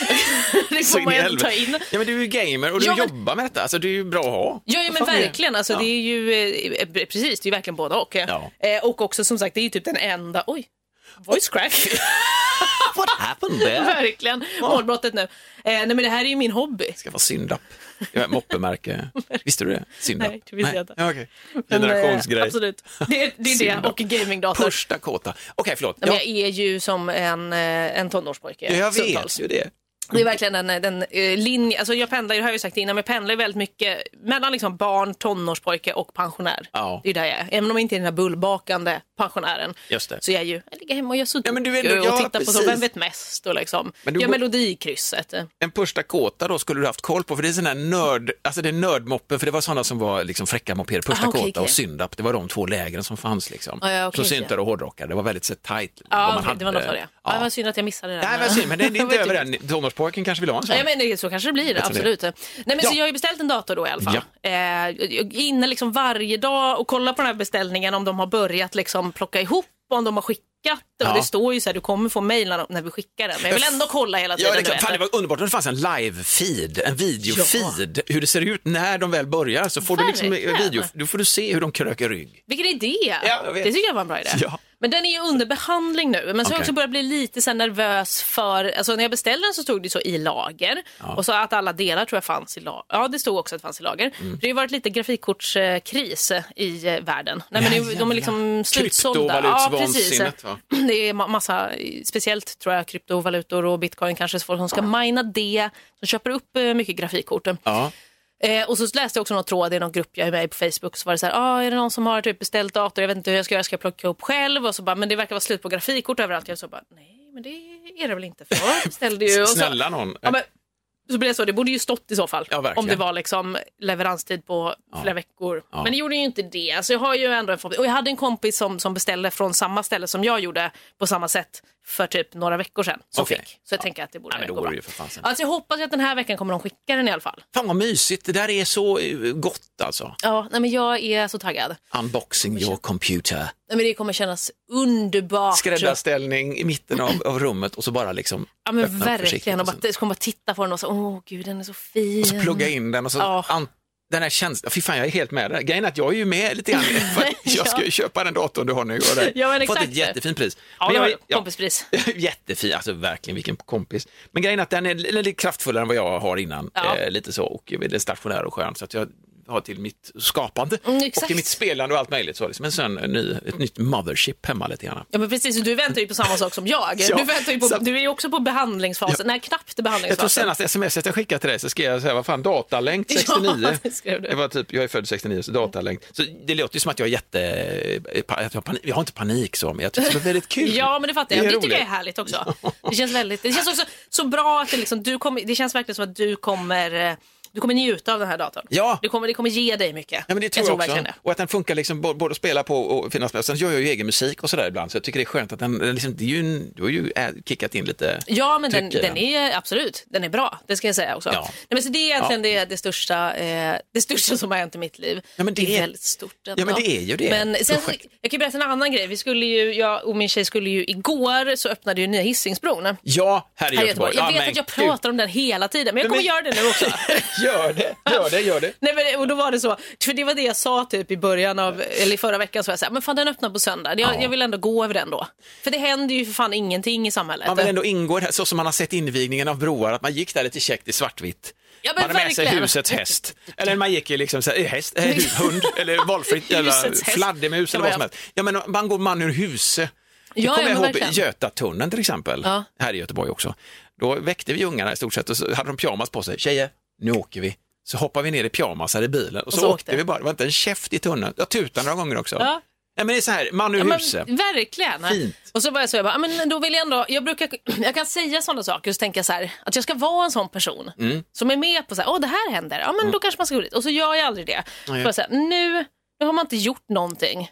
E: det
D: Så
E: får
D: in i
E: man ju ändå ta
D: helvete.
E: in.
D: Ja, men du är ju gamer och du
E: Ja, men-
D: jobbar med detta, alltså det är ju bra att ha.
E: Ja, ja
D: Vad
E: men
D: fan är det?
E: verkligen. Alltså,
D: Ja.
E: Det är ju eh, eh, precis, det är ju verkligen både och.
D: Ja.
E: Eh, och också som sagt, det är ju typ den enda... Oj, voice crack.
D: What happened there?
E: verkligen. Målbrottet nu. Eh, nej, men det här är ju min hobby.
D: Det ska vara Syndapp. Det var ett moppemärke. Visste du det? Syndapp.
E: Nej, det visste jag inte.
D: Ja, okej.
E: Men, eh,
D: Generationsgrej.
E: Absolut. Det, är- det är det och gamingdator.
D: Första kåta. Okej, förlåt.
E: Nej, men
D: ja,
E: jag är ju som en, eh, en tonårspojke.
D: jag, jag
E: stundtals.
D: vet ju det.
E: Det är verkligen den, den eh, linje, alltså jag pendlar ju, det har jag ju sagt innan, men jag pendlar ju väldigt mycket mellan liksom barn, tonårspojke och pensionär.
D: Ja.
E: Det är där jag är. Även om jag inte är den här bullbakande pensionären.
D: Just det.
E: Så jag är ju, jag ligger hemma och gör sudoku
D: Ja, men du är ändå-
E: och
D: ja,
E: tittar på så,
D: precis.
E: vem vet mest och liksom,
D: Men du
E: gör
D: går-
E: melodikrysset.
D: en första kåta då skulle du haft koll på, för det är sån här nörd, alltså det är nördmoppen, för det var sådana som var liksom fräcka mopeder, första
E: Ah, okej,
D: kåta och
E: okej.
D: syndap, det var de två lägren som fanns liksom.
E: Ah, ja, okej,
D: som syntade
E: okej.
D: och hårdrockade, det var väldigt så tight. vad
E: Ja,
D: man
E: okej, det var något för det.
D: hade.
E: Ja.
D: Ja.
E: det var synd att jag missade det. där.
D: Nej, men synd, men det är
E: Vad
D: inte över
E: tycker du?
D: än. Tonårspojken kanske vill ha en sån.
E: Ja, men det, så kanske det blir,
D: som det
E: absolut. Nej, men så jag har ju beställt en dator då i alla fall. Eh, jag är inne liksom varje dag och kollar på den här beställningen om de har börjat liksom plocka ihop, om de har skickat. Och
D: Ja.
E: Det står ju så här, du kommer få mejl när, när vi skickar den. Men jag vill ändå kolla hela
D: Ja,
E: tiden.
D: det, är
E: du
D: klart.
E: vet.
D: fan, det var underbart om det fanns en live-feed, en videofeed, hur det ser ut när de väl börjar. Så får du, liksom
E: Verkligen.
D: video, då får du se hur de kröker rygg.
E: Vilken idé!
D: Ja, jag vet.
E: det tycker jag var en bra idé.
D: Ja.
E: Men den är ju under behandling nu. Men så har
D: Okej.
E: jag också börjat bli lite så här nervös för, alltså när jag beställde den så stod det så i lager. Och så att alla delar tror jag fanns i lager. Ja, det stod också att det fanns i lager.
D: Mm.
E: Det har ju varit lite grafikkortskris i eh, världen. Nej, men nu, de är liksom slutsålda.
D: Kryptovalutsvansinnet, va?
E: Det är ma- massa, speciellt tror jag, kryptovalutor och bitcoin kanske, så folk som ska mina det, som köper upp eh, mycket grafikkort.
D: Ja.
E: Eh, och så läste jag också någon tråd i någon grupp jag är med i på Facebook. Så var det så här, ah, är det någon som har typ beställt dator? Jag vet inte hur jag ska göra, ska jag plocka upp själv? Och så bara, men det verkar vara slut på grafikkort överallt. Jag så bara, nej, men det är det väl inte för jag beställde ju. Och så,
D: Snälla någon.
E: Ja, men, Så blir det så, det borde ju stått i så fall.
D: Ja, verkligen.
E: om det var liksom leveranstid på flera veckor. Men det gjorde ju inte det. Alltså jag har ju ändå en förhoppning. Och jag hade en kompis som, som beställde från samma ställe som jag gjorde på samma sätt för typ några veckor sedan. Som
D: Okej.
E: fick. Så jag tänker att det borde
D: Nej, men då
E: gå
D: går
E: bra.
D: det ju för fan sen.
E: Alltså jag hoppas att den här veckan kommer de skicka den i alla fall.
D: Fan vad mysigt, det där är så eh, gott alltså.
E: Ja, nej, men jag är så taggad.
D: Unboxing your computer.
E: Nej, men det kommer kännas underbart.
D: Skräddarställning i mitten av, av rummet och så bara liksom
E: Ja men
D: öppna upp försiktigt
E: verkligen. Och
D: och sen-
E: bara, jag kommer bara titta på den och så, åh gud den är så fin.
D: Och så plugga in den och så
E: Ja.
D: an, den här känslan, fy fan jag är helt med där. Grejen är att jag är ju med lite grann. För att jag ska ju köpa den datorn du har nu. Och det.
E: Ja, men
D: Fått
E: exakt.
D: ett jättefint pris.
E: Ja,
D: Men
E: det
D: jag-
E: var ju
D: ja.
E: kompispris.
D: Jättefin, alltså verkligen vilken kompis. Men grejen är att den är li- lite kraftfullare än vad jag har innan.
E: Ja.
D: Eh, lite så, och väldigt stationär och skön. Så att jag har till mitt skapande
E: Mm,
D: och
E: exakt.
D: till mitt spelande och allt möjligt. Så liksom en sån, en ny, ett nytt mothership hemma lite grann.
E: Ja men precis, du väntar ju på samma sak som jag.
D: Ja,
E: du, väntar ju på,
D: så-
E: du är ju också på behandlingsfasen, nej knappt
D: Jag tror
E: behandlingsfasen.
D: senast smset jag skickade till dig så skrev jag så här, vad fan, datalänk 69.
E: Ja, det skrev du.
D: Jag var typ, jag är född 69, så datalänk. Så det låter ju som att jag är jätte, eh, att jag har panik, jag har inte panik så, men jag tycker det är väldigt kul.
E: Ja men det fattar jag, det, tycker
D: roligt.
E: jag är härligt också. Det känns, väldigt, det känns också så bra att det, liksom, du kommer, det känns verkligen som att du kommer, eh, du kommer njuta av den här datorn.
D: Ja.
E: Det, kommer, det kommer ge dig mycket.
D: Ja, men det tror jag, också.
E: verkligen det.
D: Och att den funkar liksom bo- både att spela på och finnas med. Och Sen gör jag ju egen musik och sådär ibland, så jag tycker det är skönt att den, den liksom, det är ju, en- du har ju äh, kickat in lite.
E: Ja, men den,
D: tryck i
E: den är absolut, den är bra. Det ska jag säga också.
D: Ja.
E: Nej, men så det är egentligen det, det, största, eh, det största som har hänt i mitt liv.
D: Ja, men det är-
E: väldigt stort ändå.
D: Ja, men det är ju det.
E: Men sen, så-
D: Projekt.
E: jag kan ju berätta en annan grej. Vi skulle ju, jag och min tjej skulle ju igår så öppnade ju nya Hisingsbron. här
D: Ja, här i
E: i
D: Göteborg.
E: Göteborg. Jag
D: Ja,
E: vet
D: men
E: att jag
D: gud.
E: pratar om den hela tiden, men jag
D: Men-
E: kommer göra det nu också.
D: Gör det, gör det, gör det.
E: Nej, men, och då var det så, för det var det jag sa typ i början av, eller i förra veckan, så var jag så här, men fan den öppnar på söndag, jag, jag vill ändå gå över den då. För det händer ju för fan ingenting i samhället.
D: Man vill ändå ingå i det här, så som man har sett invigningen av broar, att man gick där lite käckt i svartvitt.
E: Ja, men
D: man hade med sig
E: verkligen.
D: husets häst. Eller man gick i liksom så här, häst, eh, hu- hund eller valfritt jävla
E: Husets häst.
D: fladdermus
E: Kan
D: eller vad
E: man
D: som helst. Ja, men man går man ur huse. Det
E: Ja, ja,
D: kommer
E: men
D: jag ihåg
E: verkligen.
D: Götatunneln till exempel,
E: Ja.
D: här i Göteborg också. Då väckte vi ungarna i stort sett och så hade de pyjamas på sig. Tjejer, nu åker vi. Så hoppade vi ner i pyjamasar i bilen och så, åkte vi bara. Det var inte en käft i tunneln. Jag tutade några gånger också.
E: Ja.
D: Nej, men det är så här, man ur
E: Ja, men
D: huse.
E: verkligen.
D: Fint.
E: Och så var jag så, jag bara, "Ah, men då vill jag ändå, jag brukar, jag kan säga sådana saker och så tänker jag så här, att jag ska vara en sån person
D: Mm.
E: som är med på så här, åh det här händer, ja men då kanske man ska gå dit. Och så gör jag aldrig det.
D: Nej.
E: Bara så här, nu, nu har man inte gjort någonting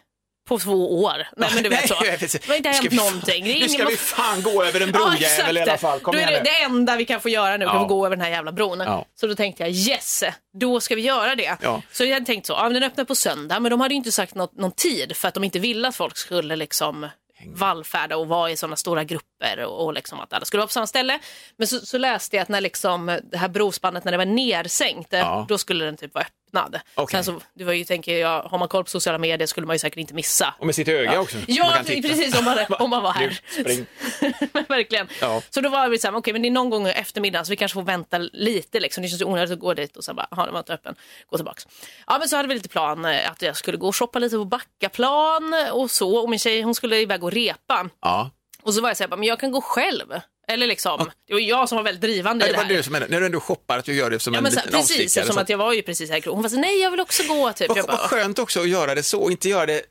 E: på två år. Nej men du vet så.
D: Nej, jag vet inte.
E: Det har inte
D: Nu ska
E: hänt
D: vi fan-
E: någonting. Det är
D: Nu
E: ingen-
D: ska vi fan gå över en
E: Ja, exakt.
D: brojävel i alla fall. Kom
E: då är
D: igen
E: det,
D: nu.
E: det enda vi kan få göra nu, det är
D: Ja.
E: att gå över den här jävla bron.
D: Ja.
E: Så då tänkte jag yes, då ska vi göra det.
D: Ja.
E: Så jag hade tänkt så, ja, men den öppnar på söndag, men de hade ju inte sagt något, någon tid för att de inte ville att folk skulle liksom vallfärda och vara i sådana stora grupper och, och liksom att alla skulle vara på samma ställe. Men så, så läste jag att när liksom det här brospannet, när det var nersänkt,
D: Ja.
E: då skulle den typ vara öppnad.
D: Okej.
E: Sen så, det var ju, tänker jag, har man koll på sociala medier skulle man ju säkert inte missa.
D: Och med sitt öga också. Man
E: Ja,
D: kan titta.
E: precis om man, om man var
D: Nu,
E: här.
D: spring.
E: Men verkligen.
D: Ja.
E: Så då var vi så här, okej men det är någon gång i eftermiddag så vi kanske får vänta lite liksom. Det känns ju onödigt att gå dit och sen bara, jaha den var inte öppen, gå tillbaks. Ja men så hade vi lite plan eh, att jag skulle gå och shoppa lite på Backaplan och så och min tjej hon skulle iväg och repa.
D: Ja.
E: Och så var jag så här, bara, men jag kan gå själv. Eller liksom, det var ju jag som var väldigt drivande i
D: Det
E: det
D: var
E: här.
D: du som menade, när du ändå shoppar, att du gör det som
E: Ja,
D: en
E: men så här,
D: liten
E: precis,
D: avstickare.
E: som
D: så
E: att jag var ju precis här i krogen. Hon var så här, nej jag vill också gå typ. Jag
D: Vad,
E: bara,
D: vad skönt också att göra det så och inte göra det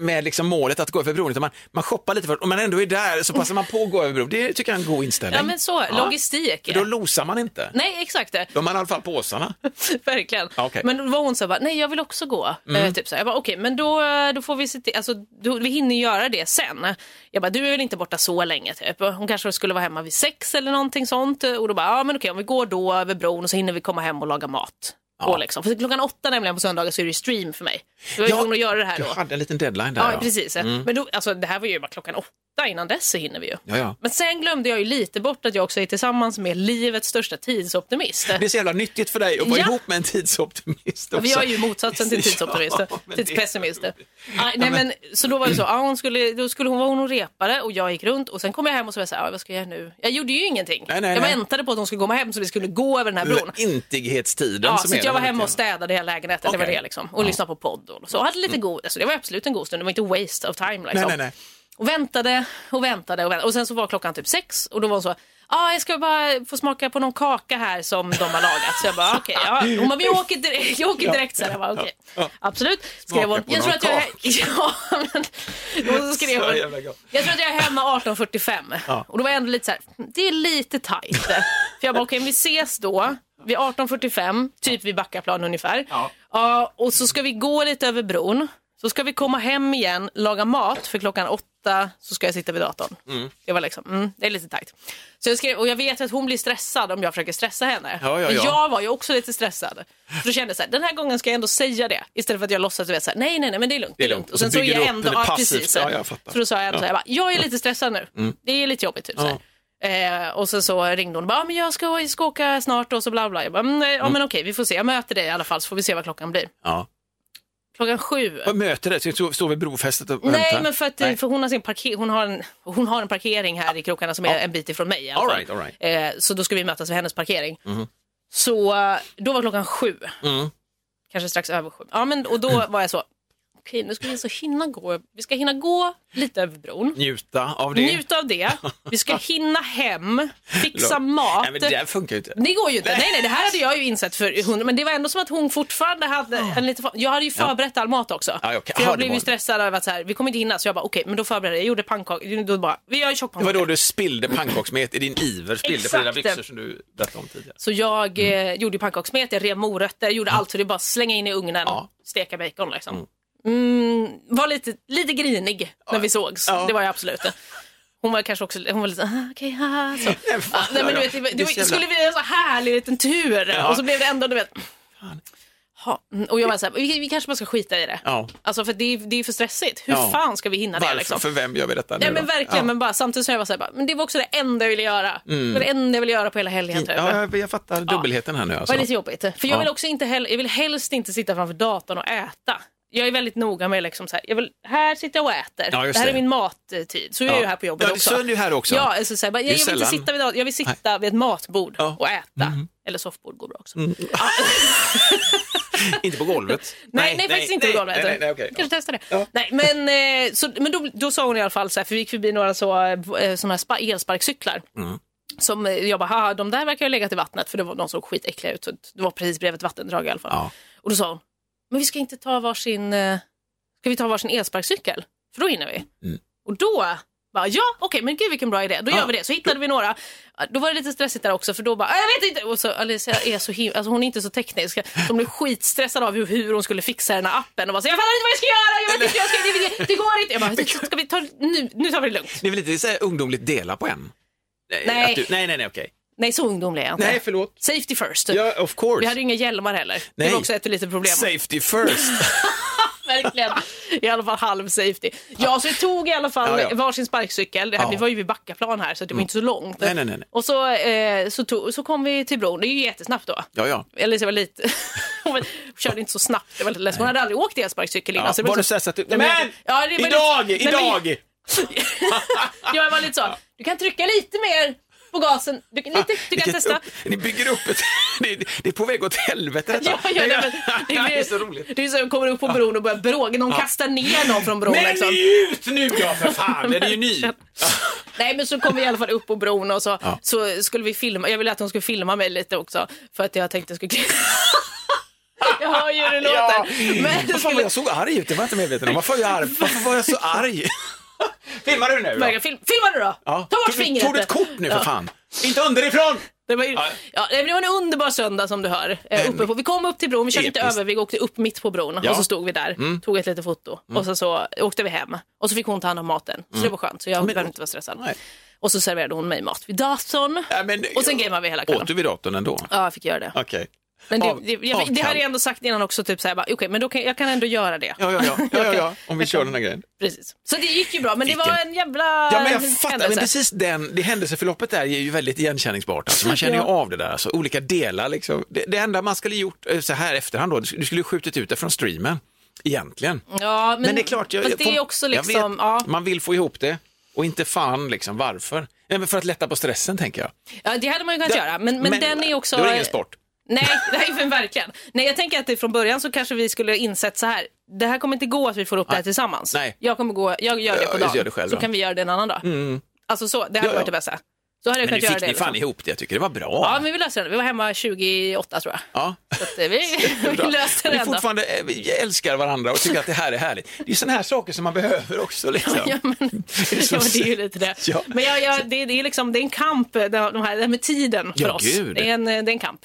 D: med liksom målet att gå över bron, utan man, man shoppar lite först, om man ändå är där så passar man på att gå över bron. Det tycker jag är en god inställning.
E: ja men så, logistik.
D: För då losar man inte.
E: Nej exakt. det.
D: Då har man i alla fall påsarna.
E: Verkligen.
D: Ja, okej. Mm.
E: Men då var hon så här, bara, nej jag vill också gå. Eh, typ så här. Jag bara, okej men då, då får vi se till, alltså, då, vi hinner göra det sen. Jag bara, du är väl inte borta så länge typ. Hon kanske skulle vara hemma vid sex eller någonting sånt. Och då bara, ja men okej om vi går då över bron och så hinner vi komma hem och laga mat. Och liksom. För klockan åtta nämligen på söndagar så är det ju stream för mig. Så jag var
D: Ja,
E: tvungen att göra det här
D: Du
E: då.
D: hade en liten deadline där.
E: Ja, precis. Men då, alltså, det här var ju bara klockan åtta, innan dess så hinner vi ju.
D: Mm. Ja, ja.
E: Men sen glömde jag ju lite bort att jag också är tillsammans med livets största tidsoptimist.
D: Det är så jävla nyttigt för dig att vara
E: Ja.
D: ihop med en tidsoptimist också.
E: Vi har ju motsatsen till tidsoptimister,
D: Ja, men det-
E: tidspessimister. Ah, nej, men, så då var det så, ah, hon skulle, då skulle hon vara hon och repade och jag gick runt och sen kom jag hem och så var jag så här, ah, vad ska jag göra nu? Jag gjorde ju ingenting.
D: Nej, nej,
E: jag
D: nej.
E: väntade på att hon skulle komma hem så vi skulle gå över den här bron.
D: Intighetstiden
E: Ja,
D: som
E: så
D: är
E: att jag
D: den
E: var
D: här
E: hemma och
D: tiden.
E: städade hela lägenheten, det
D: Okej. Mm.
E: var det liksom. Och lyssnade på podd och så. Och hade lite god, alltså, det var absolut en god stund, det var inte waste of time liksom.
D: Nej, nej, nej.
E: Och väntade och väntade och väntade. Och sen så var klockan typ sex och då var hon så, ja ah, jag ska bara få smaka på någon kaka här som de har lagat. Så jag bara, "Ah, okej. ja. Hon bara, vi åker direkt. Jag åker direkt. Så jag bara, okej. Absolut. Skrev hon.
D: Smaka på
E: Jag tror
D: någon
E: att jag är... Ja, men... Och så skrev
D: Så
E: hon,
D: jävla gott.
E: jag tror att jag är hemma 18.45. Och då var jag ändå lite så här, det är lite tajt. För jag bara, okej, men vi ses då. Vid 18.45, typ vid Backaplan ungefär. Ja. och så ska vi gå lite över bron. Så ska vi komma hem igen, laga mat, för klockan åtta så ska jag sitta vid datorn. Det var liksom, mm, det är lite tajt. Så jag skrev, och jag vet att hon blir stressad om jag försöker stressa henne.
D: Ja, ja,
E: Men
D: ja.
E: jag var ju också lite stressad. Så då kände jag så här, den här gången ska jag ändå säga det. Istället för att jag låtsas, du vet, så här, nej, nej, nej, men det är lugnt.
D: Det är lugnt.
E: Och sen
D: Och
E: så
D: så
E: är
D: bygger
E: jag
D: du upp
E: ändå,
D: det
E: ja,
D: passivt.
E: precis.
D: Ja, Mm. jag fattar.
E: Så då sa jag ändå så här, jag, bara, jag är lite stressad nu. Det är lite jobbigt. Typ, så här. Eh, och sen så ringde hon och bara, ah, men jag ska, jag ska åka snart och så bla bla. Jag bara, mm, nej, ja, men okej, vi får se. Jag möter dig i alla fall så får vi se vad klockan blir.
D: Ja.
E: Klockan sju.
D: Vad möter det? Ska du stå vid brofästet och
E: Nej,
D: vänta?
E: men för, att,
D: Nej.
E: för hon, har sin parker, hon, har en, hon har en parkering här i krokarna som är en bit ifrån mig. i alla
D: All
E: fall.
D: right, all right.
E: eh, så då ska vi mötas vid hennes parkering. Så eh, då var klockan sju.
D: Mhm. Mm.
E: Kanske strax över sju. Ja, men, och då var jag så, okej nu ska vi så hinna gå, vi ska hinna gå lite över bron.
D: Njuta av det.
E: Njuta av det. Vi ska hinna hem, fixa mat.
D: Nej, men det där funkar ju inte.
E: Det går ju inte. Nej, nej, det här hade jag ju insett för hundra, men det var ändå som att hon fortfarande hade en lite... fa- Jag hade ju förberett all mat också.
D: Ah. Ja, ja, okej.
E: För
D: Aha,
E: jag
D: det
E: blev
D: var
E: ju
D: det.
E: stressad över att så här, vi kommer inte hinna, så jag bara okej, men då förberedde jag. Jag gjorde pannkakor, då bara, vi gör
D: Det var
E: tjockpannkakor.
D: då du spillde pannkakssmet i din iver, spillde på dina
E: Exakt.
D: byxor som du berättade om tidigare.
E: Så jag
D: Mm.
E: eh, gjorde ju pannkakssmet, jag rev morötter, gjorde allt för det är bara att slänga in i ugnen,
D: Ja.
E: steka bacon liksom. Mm. var lite, lite grinig när vi sågs, det var jag absolut. Hon var kanske också hon var lite ah, okej, haha. så. Ja, Ah, nej, men du vet, det, var- det,
D: Det är
E: var-
D: så jävla-
E: skulle bli en så härlig liten tur
D: Ja.
E: och så blev det ändå, du vet. Ha, mm, och jag var såhär, vi, vi kanske bara ska skita i det.
D: Ja.
E: Alltså för det, är- det är för stressigt. Hur
D: Ja.
E: fan ska vi hinna
D: Varför?
E: det liksom?
D: För vem gör vi detta
E: Nej
D: nu
E: men
D: då?
E: verkligen, men bara, samtidigt så jag var så här, bara, men det var också det enda jag ville göra. Det var det enda jag ville göra på hela helgen.
D: Mm. Ja,
E: Typ.
D: ja jag, jag fattar dubbelheten här nu alltså.
E: Det var lite jobbigt. För jag
D: Ja.
E: vill också inte heller, jag vill helst inte sitta framför datorn och äta. Jag är väldigt noga med liksom så här, jag vill, här sitter jag och äter.
D: Ja,
E: det
D: just
E: här
D: det.
E: är min mattid. Så är jag
D: Ja.
E: ju här på jobbet
D: Ja,
E: också.
D: så är du här också.
E: Ja, alltså, så här, bara, jag,
D: är
E: jag vill inte
D: sällan-
E: sitta vid datorn, jag vill sitta vid ett matbord
D: Ja. Mhm. Mm.
E: och äta. Eller soffbord går bra också.
D: Ah. Inte på golvet?
E: Nej, nej, faktiskt inte på golvet.
D: Nej, nej, nej, okej.
E: Kanske testa det. Nej, men eh, så, men då, då sa hon i alla fall så här, för vi gick förbi några så, eh, såna här spa, elsparkcyklar.
D: Mm.
E: Som eh, jag bara, haha, de där verkar ju ha legat i vattnet för det var, de såg skitäckliga ut. Så Det var precis bredvid ett vattendrag i alla fall.
D: Ja.
E: Och då sa hon, men vi ska inte ta varsin, eh, ska vi ta varsin elsparkcykel? För då hinner vi.
D: Mm.
E: Och då bara, ja okej men gud vilken bra idé, då gör vi det. Så hittade vi några. Då var det lite stressigt där också för då bara, "Ah, jag vet inte. Och så Alicia är så him- alltså, hon är inte så teknisk. Hon blev skitstressad av hur, hur hon skulle fixa den här appen och bara, så, jag fattar inte vad jag ska göra, jag vet inte, jag ska, det, det, det går inte. Jag bara, ska vi ta, nu, nu tar vi det lugnt.
D: Det är väl lite så här ungdomligt dela på en? Nej.
E: Nej.
D: att Du, nej, nej, nej, okej.
E: Nej så ungdomlig är jag inte.
D: Nej, förlåt.
E: Safety first.
D: Ja, of course.
E: Typ. Vi hade ju inga hjälmar heller. Det
D: Nej.
E: var också ett litet problem.
D: Safety first.
E: Verkligen. I alla fall halv safety. Ja, så vi tog i alla fall
D: Ja, ja.
E: varsin sparkcykel. Det här,
D: Ja.
E: Vi var ju vid Backaplan här så det var inte så långt.
D: Nej, nej, nej, nej.
E: Och så, eh, så, tog, så kom vi till bron. Det är ju jättesnabbt då.
D: Ja, ja.
E: Eller så var lite... hon var- körde inte så snabbt. Det var lite läskigt. Hon hade aldrig åkt elsparkcykel innan.
D: ja.
E: så det
D: Var
E: så-
D: du stressad? Du...
E: Nej, men jag-
D: Men!
E: Ja, det var lite-
D: Idag!
E: Nej, men-
D: Idag!
E: Ja, jag var lite så. Du kan trycka lite mer på gasen. Du, kan- lite, du kan
D: Vilket
E: testa.
D: Upp, ni bygger upp ett... det, är- det är på väg åt helvete detta.
E: Ja, ja, nej, men,
D: det,
E: blir-
D: är så roligt.
E: Det är så här, kommer upp på bron och börjar bråka. Någon kastar ner någon från bron.
D: Men
E: liksom.
D: njut nu då för fan! Den är ju ny.
E: Nej men så kom vi i alla fall upp på bron och så, så skulle vi filma, jag ville att hon skulle filma mig lite också för att jag tänkte jag skulle Jag hör ju hur det låter.
D: Ja.
E: Men det
D: Vad fan var
E: skulle...
D: jag såg arg ut? Det var jag inte medveten om. Varför var jag, arg? Varför var jag så arg? Filmar du nu då?
E: Verkar- Film, filma nu då!
D: Ja.
E: Ta bort
D: Tog du-
E: fingret!
D: Tog du ett kort nu för
E: Ja.
D: fan? Inte underifrån!
E: Det var, ju, ja, det var en underbar söndag som du hör. Eh, uppe på, vi kom upp till bron, vi körde inte
D: Episkt.
E: över, vi åkte upp mitt på bron
D: Ja. Mm.
E: och så stod vi där, tog ett litet foto och så, så åkte vi hem och så fick hon ta hand om maten. Så det var skönt, så jag behövde inte vara stressad.
D: Mm. Nej.
E: Och så serverade hon mig mat vid datorn
D: Ja, men-
E: och sen gameade vi hela kvällen.
D: Åt du vid datorn ändå?
E: Ja, jag fick göra det.
D: Okej.
E: Men
D: Av-
E: det, det, jag, det
D: avkall.
E: hade jag ändå sagt innan också, typ såhär, bara, okej men då kan, jag kan ändå göra det.
D: Ja, ja, ja. ja, ja, ja. Om vi kör den här grejen.
E: Precis. Så det gick ju bra, men det var
D: Vilken-
E: en jävla
D: Ja, men jag fattar. Men
E: händelse.
D: precis den, det händelseförloppet där är ju väldigt igenkänningsbart. Alltså, man känner ju
E: Ja.
D: av det där. Alltså, olika delar liksom. det, det enda man skulle gjort eh, så här efterhand då, du skulle ju skjutit ut det från streamen. Egentligen.
E: Ja, men,
D: Men, det är klart, jag,
E: fast
D: jag
E: det
D: får-
E: är också
D: jag
E: liksom,
D: vet, Mm.
E: ja.
D: man vill få ihop det och inte fan liksom varför. Nej, men för att lätta på stressen tänker jag.
E: ja, det hade man ju kunnat
D: Det-
E: göra. Men, men, den är också...
D: Då är det ingen sport.
E: Nej, nej men verkligen. Nej, jag tänker att det från början så kanske vi skulle ha insett så här. Det här kommer inte gå att vi får upp det här tillsammans.
D: Nej.
E: Jag kommer gå, jag gör det
D: Ja,
E: på
D: jag
E: dagen.
D: gör det själv
E: så
D: då.
E: kan vi göra det en annan dag. Alltså så, det hade
D: Ja,
E: varit
D: ja.
E: det bästa. Så hade jag
D: Men nu
E: kunnat göra
D: fick
E: det.
D: ni
E: liksom.
D: fan ihop det, jag tycker det var bra.
E: Ja, men vi löste den. Vi var hemma 28 tror jag.
D: Ja.
E: Så att eh, vi, vi
D: Bra. Vi
E: löste den ändå.
D: fortfarande eh, vi älskar varandra och tycker att det här är härligt. Det är sådana här saker som man behöver också. Liksom.
E: Ja, men,
D: så
E: ja, men det är ju lite det.
D: Ja.
E: Men jag, jag, det, det, är liksom, det är en kamp, eh, det, de här, det här med tiden för
D: Ja,
E: oss.
D: gud.
E: Det, är en, eh, det är en kamp.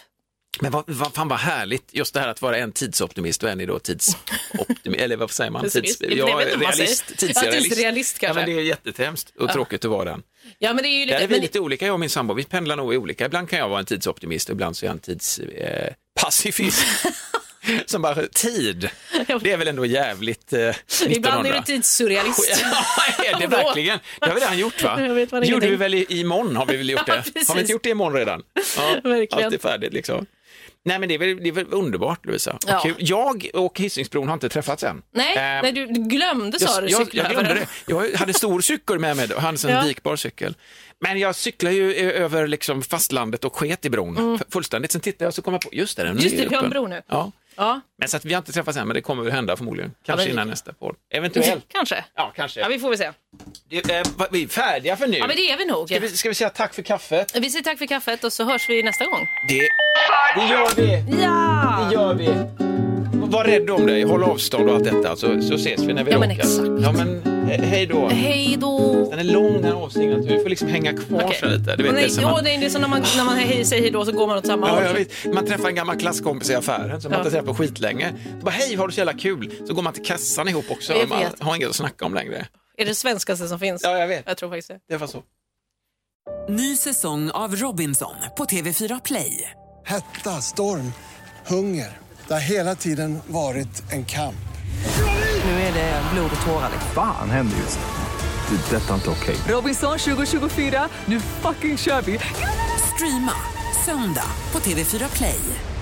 D: Men vad, vad, fan vad härligt, just det här att vara en tidsoptimist och en är då tidsoptimist, eller vad säger man?
E: Pessimist. Jag vet
D: ja,
E: inte vad man
D: realist,
E: säger.
D: tidsrealist.
E: Ja, tidsrealist kanske.
D: Ja, men det är jätteträmst och tråkigt att vara den.
E: Ja, men det är
D: Där
E: ju lite,
D: är vi
E: men,
D: lite olika, jag och min sambo, vi pendlar nog i olika. Ibland kan jag vara en tidsoptimist och ibland så är jag en tidspacifist. Eh, pacifist. Som bara, tid, det är väl ändå jävligt eh, 1900.
E: ibland är du tidssurrealist.
D: Ja, är det
E: Vadå?
D: verkligen? Det har vi redan gjort va?
E: Jag vet vad
D: det
E: det
D: gjorde
E: är.
D: vi väl i, imorgon har vi väl gjort
E: Ja,
D: det? har vi
E: precis.
D: inte gjort det imorgon redan? Ja,
E: Verkligen.
D: Allt är färdigt liksom. Nej men det är väl, det är väl underbart Lovisa.
E: Ja.
D: Ja. Jag och Hisingsbron har inte träffats än.
E: Nej,
D: Eh,
E: nej, du du glömde sa du
D: jag, jag,
E: cykla
D: jag
E: över
D: glömde
E: den.
D: det. Jag hade stor cykel med mig, då. han hade en
E: Ja.
D: vikbar cykel. Men jag cyklar ju eh, över liksom fastlandet och sket i bron F- fullständigt. Sen tittade jag och så kom jag på, just det, den
E: Mm. Just
D: är
E: det,
D: ju
E: vi har en
D: öppen.
E: bro nu.
D: Ja.
E: Ja,
D: Men så att vi har inte träffats än, men det kommer väl hända förmodligen.
E: men
D: Kanske
E: det-
D: innan nästa podd. Eventuellt.
E: kanske.
D: Ja, kanske.
E: Ja, vi får väl se.
D: Det, eh, vad- vi är färdiga för nu.
E: Ja, men det är vi nog.
D: Ska vi, ska vi säga tack för kaffet?
E: Vi säger tack för kaffet och så hörs vi nästa gång.
D: Det, det gör vi!
E: Ja!
D: Det gör vi! Var rädd om dig, håll avstånd och allt detta, så, så ses vi när vi
E: Ja,
D: åker.
E: men exakt.
D: Ja, men eh, hej då.
E: Hej då!
D: Den är lång den här avsnittet, du får liksom hänga kvar
E: Okej.
D: så lite. Du vet, det är
E: nej,
D: som
E: ja,
D: man-
E: nej, det är som när man, när man hej, säger hej då så går man åt samma
D: Ja,
E: håll.
D: jag vet. Man träffar en gammal klasskompis i affären som man
E: Ja.
D: inte träffat på skitlänge. Så bara, hej, har du så jävla kul? Så går man till kassan ihop också.
E: Jag
D: Man
E: vet.
D: har inget att snacka om längre.
E: Är det det svenskaste som finns?
D: Ja, jag vet.
E: Jag tror faktiskt det.
D: Det var så.
A: Ny säsong av Robinson på TV4 Play.
B: Hetta, storm, hunger. Det har hela tiden varit en kamp.
A: Nu är det blod och tårar. liksom.
C: Fan händer just det. Det är detta inte okej.
A: Robinson 2024, nu fucking kör vi! Streama söndag på TV4 Play.